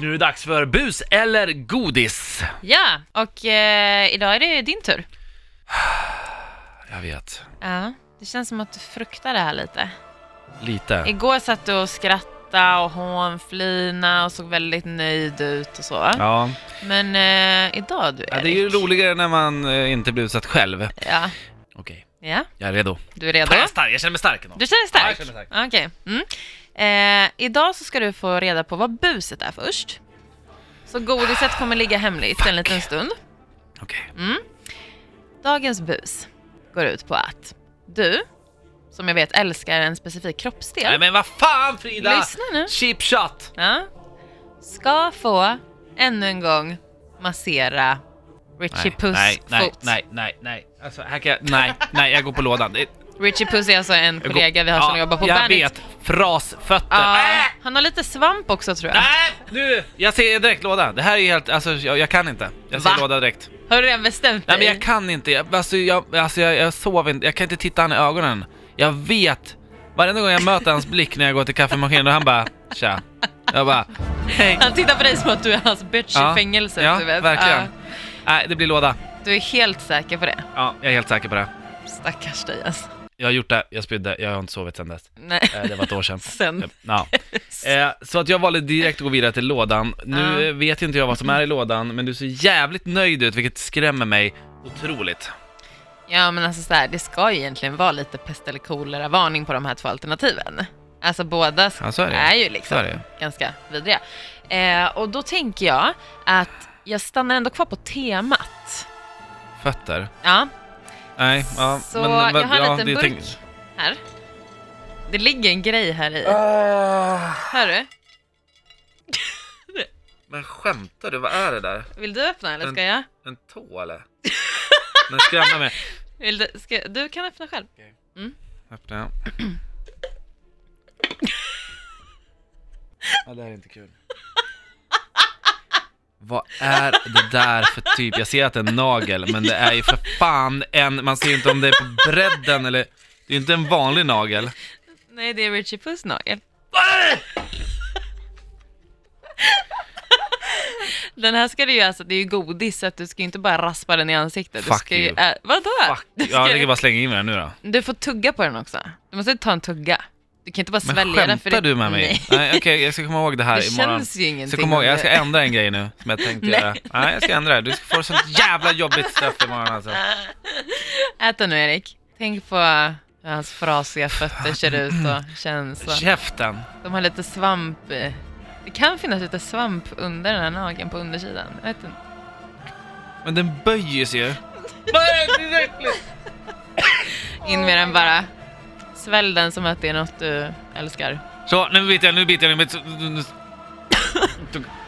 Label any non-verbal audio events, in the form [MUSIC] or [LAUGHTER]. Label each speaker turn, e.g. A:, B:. A: Nu är det dags för bus eller godis.
B: Ja, och eh, idag är det din tur.
A: Jag vet,
B: Ja, det känns som att du fruktar det här lite.
A: lite.
B: Igår satt du och skrattade och hånflina och såg väldigt nöjd ut och så. va?
A: Ja.
B: Men eh, idag du,
A: ja,
B: Erik.
A: det är ju roligare när man eh, inte blir utsatt själv. Okej,
B: Ja, ja,
A: jag är redo.
B: du är redo?
A: Jag, är stark, jag känner mig stark ändå.
B: Du känner dig stark?
A: Ja, jag känner mig
B: stark. Okej. Mm. Eh, idag så ska du få reda på vad buset är först. Så godiset kommer ligga hemligt en liten stund.
A: Okej.
B: Mm. Dagens bus går ut på att du, som jag vet älskar en specifik kroppsdel,
A: Nej men vad fan Frida!
B: lyssna nu,
A: Cheap shot!
B: ja, ska få ännu en gång massera Richie Puss
A: nej, nej,
B: fot.
A: nej, nej, nej. Alltså, här kan jag,
B: [LAUGHS]
A: nej, nej, jag går på lådan. Det-
B: Richie Puss är alltså en
A: jag
B: kollega vi har som jobbar på
A: Jag
B: Bandit.
A: vet, frasfötter.
B: Ja,
A: Äh!
B: han har lite svamp också tror jag.
A: Nej, nu! Jag ser direkt låda. Det här är helt, alltså jag, jag kan inte. Jag ser
B: Va?
A: låda direkt.
B: Har du redan bestämt dig?
A: Nej men jag kan inte, jag, alltså, jag, alltså jag, jag sover inte, jag kan inte titta han i ögonen. Jag vet, varenda gång jag möter hans blick när jag går till kaffemaskinen och han bara tja. Jag bara
B: [LAUGHS]
A: hej.
B: Han tittar på dig som att du är hans bitch
A: Ja,
B: i fängelset.
A: Ja,
B: du vet.
A: verkligen.
B: Ja,
A: Nej, det blir låda.
B: du är helt säker på det.
A: Ja, jag är helt säker på det.
B: Stackars dig alltså.
A: Jag har gjort det, jag spydde, jag har inte sovit sedan dess.
B: Nej.
A: Eh, Det var ett år
B: [LAUGHS]
A: sedan.
B: Sen.
A: Ja. Eh, så att jag valde direkt att gå vidare till lådan. Nu
B: Ja.
A: eh, vet inte jag vad som är i lådan, men du ser jävligt nöjd ut, vilket skrämmer mig otroligt.
B: Ja men alltså så här, det ska ju egentligen vara lite pest eller kolera varning på de här två alternativen. Alltså båda sk-
A: Ja, så är det.
B: är ju
A: Så
B: liksom
A: är det.
B: ganska vidriga. Eh, och då tänker jag att jag stannar ändå kvar på temat.
A: Fötter.
B: Ja,
A: Nej, ja,
B: så
A: men, vad-
B: jag har en
A: ja,
B: liten
A: det
B: burk
A: tänk-
B: här. Det ligger en grej här i.
A: Ah.
B: Hör du?
A: Men skämtar du? Vad är det där?
B: Vill du öppna eller ska
A: En-
B: jag?
A: En tå eller? [LAUGHS] Den skrämde mig.
B: Vill du, ska, du kan öppna själv.
A: Öppna [CLEARS THROAT] ja. ja, det här är inte kul. Vad är det där för typ? Jag ser att det är en nagel, men det är ju för fan en, man ser ju inte om det är på bredden eller, det är ju inte en vanlig nagel.
B: Nej, det är Richie Puss nagel. Den här ska du ju alltså, det är ju godis så att du ska ju inte bara raspa den i ansiktet. du
A: Fuck
B: ska ju,
A: you.
B: ä- vadå?
A: Fuck.
B: Du,
A: Ja, jag
B: ska,
A: tänker bara slänga in mig den nu då.
B: du får tugga på den också. Du måste ta en tugga. Du kan inte bara
A: Men
B: svälja den för
A: skämtar
B: det,
A: du med mig?
B: Nej, [LAUGHS]
A: Nej, okej, jag ska komma ihåg det här
B: det
A: imorgon.
B: känns ju ingenting.
A: Så kom ihåg,
B: om
A: jag
B: det-
A: ska ändra en grej nu som jag tänkte
B: Nej.
A: göra. Nej, jag ska ändra det. Du ska få sånt jävla jobbigt straff imorgon alltså.
B: Ät den nu Erik. Tänk på hur hans frasiga fötter ser ut och känns. Och.
A: Käften!
B: De har lite svamp. eh, Det kan finnas lite svamp under den här nageln på undersidan. Jag vet inte.
A: Men den böjer sig
B: [LAUGHS]
A: ju.
B: In med den bara. Svälj den som att det är något du älskar.
A: Så, nu biter jag, nu biter jag, nu biter jag. Eh.
B: Oh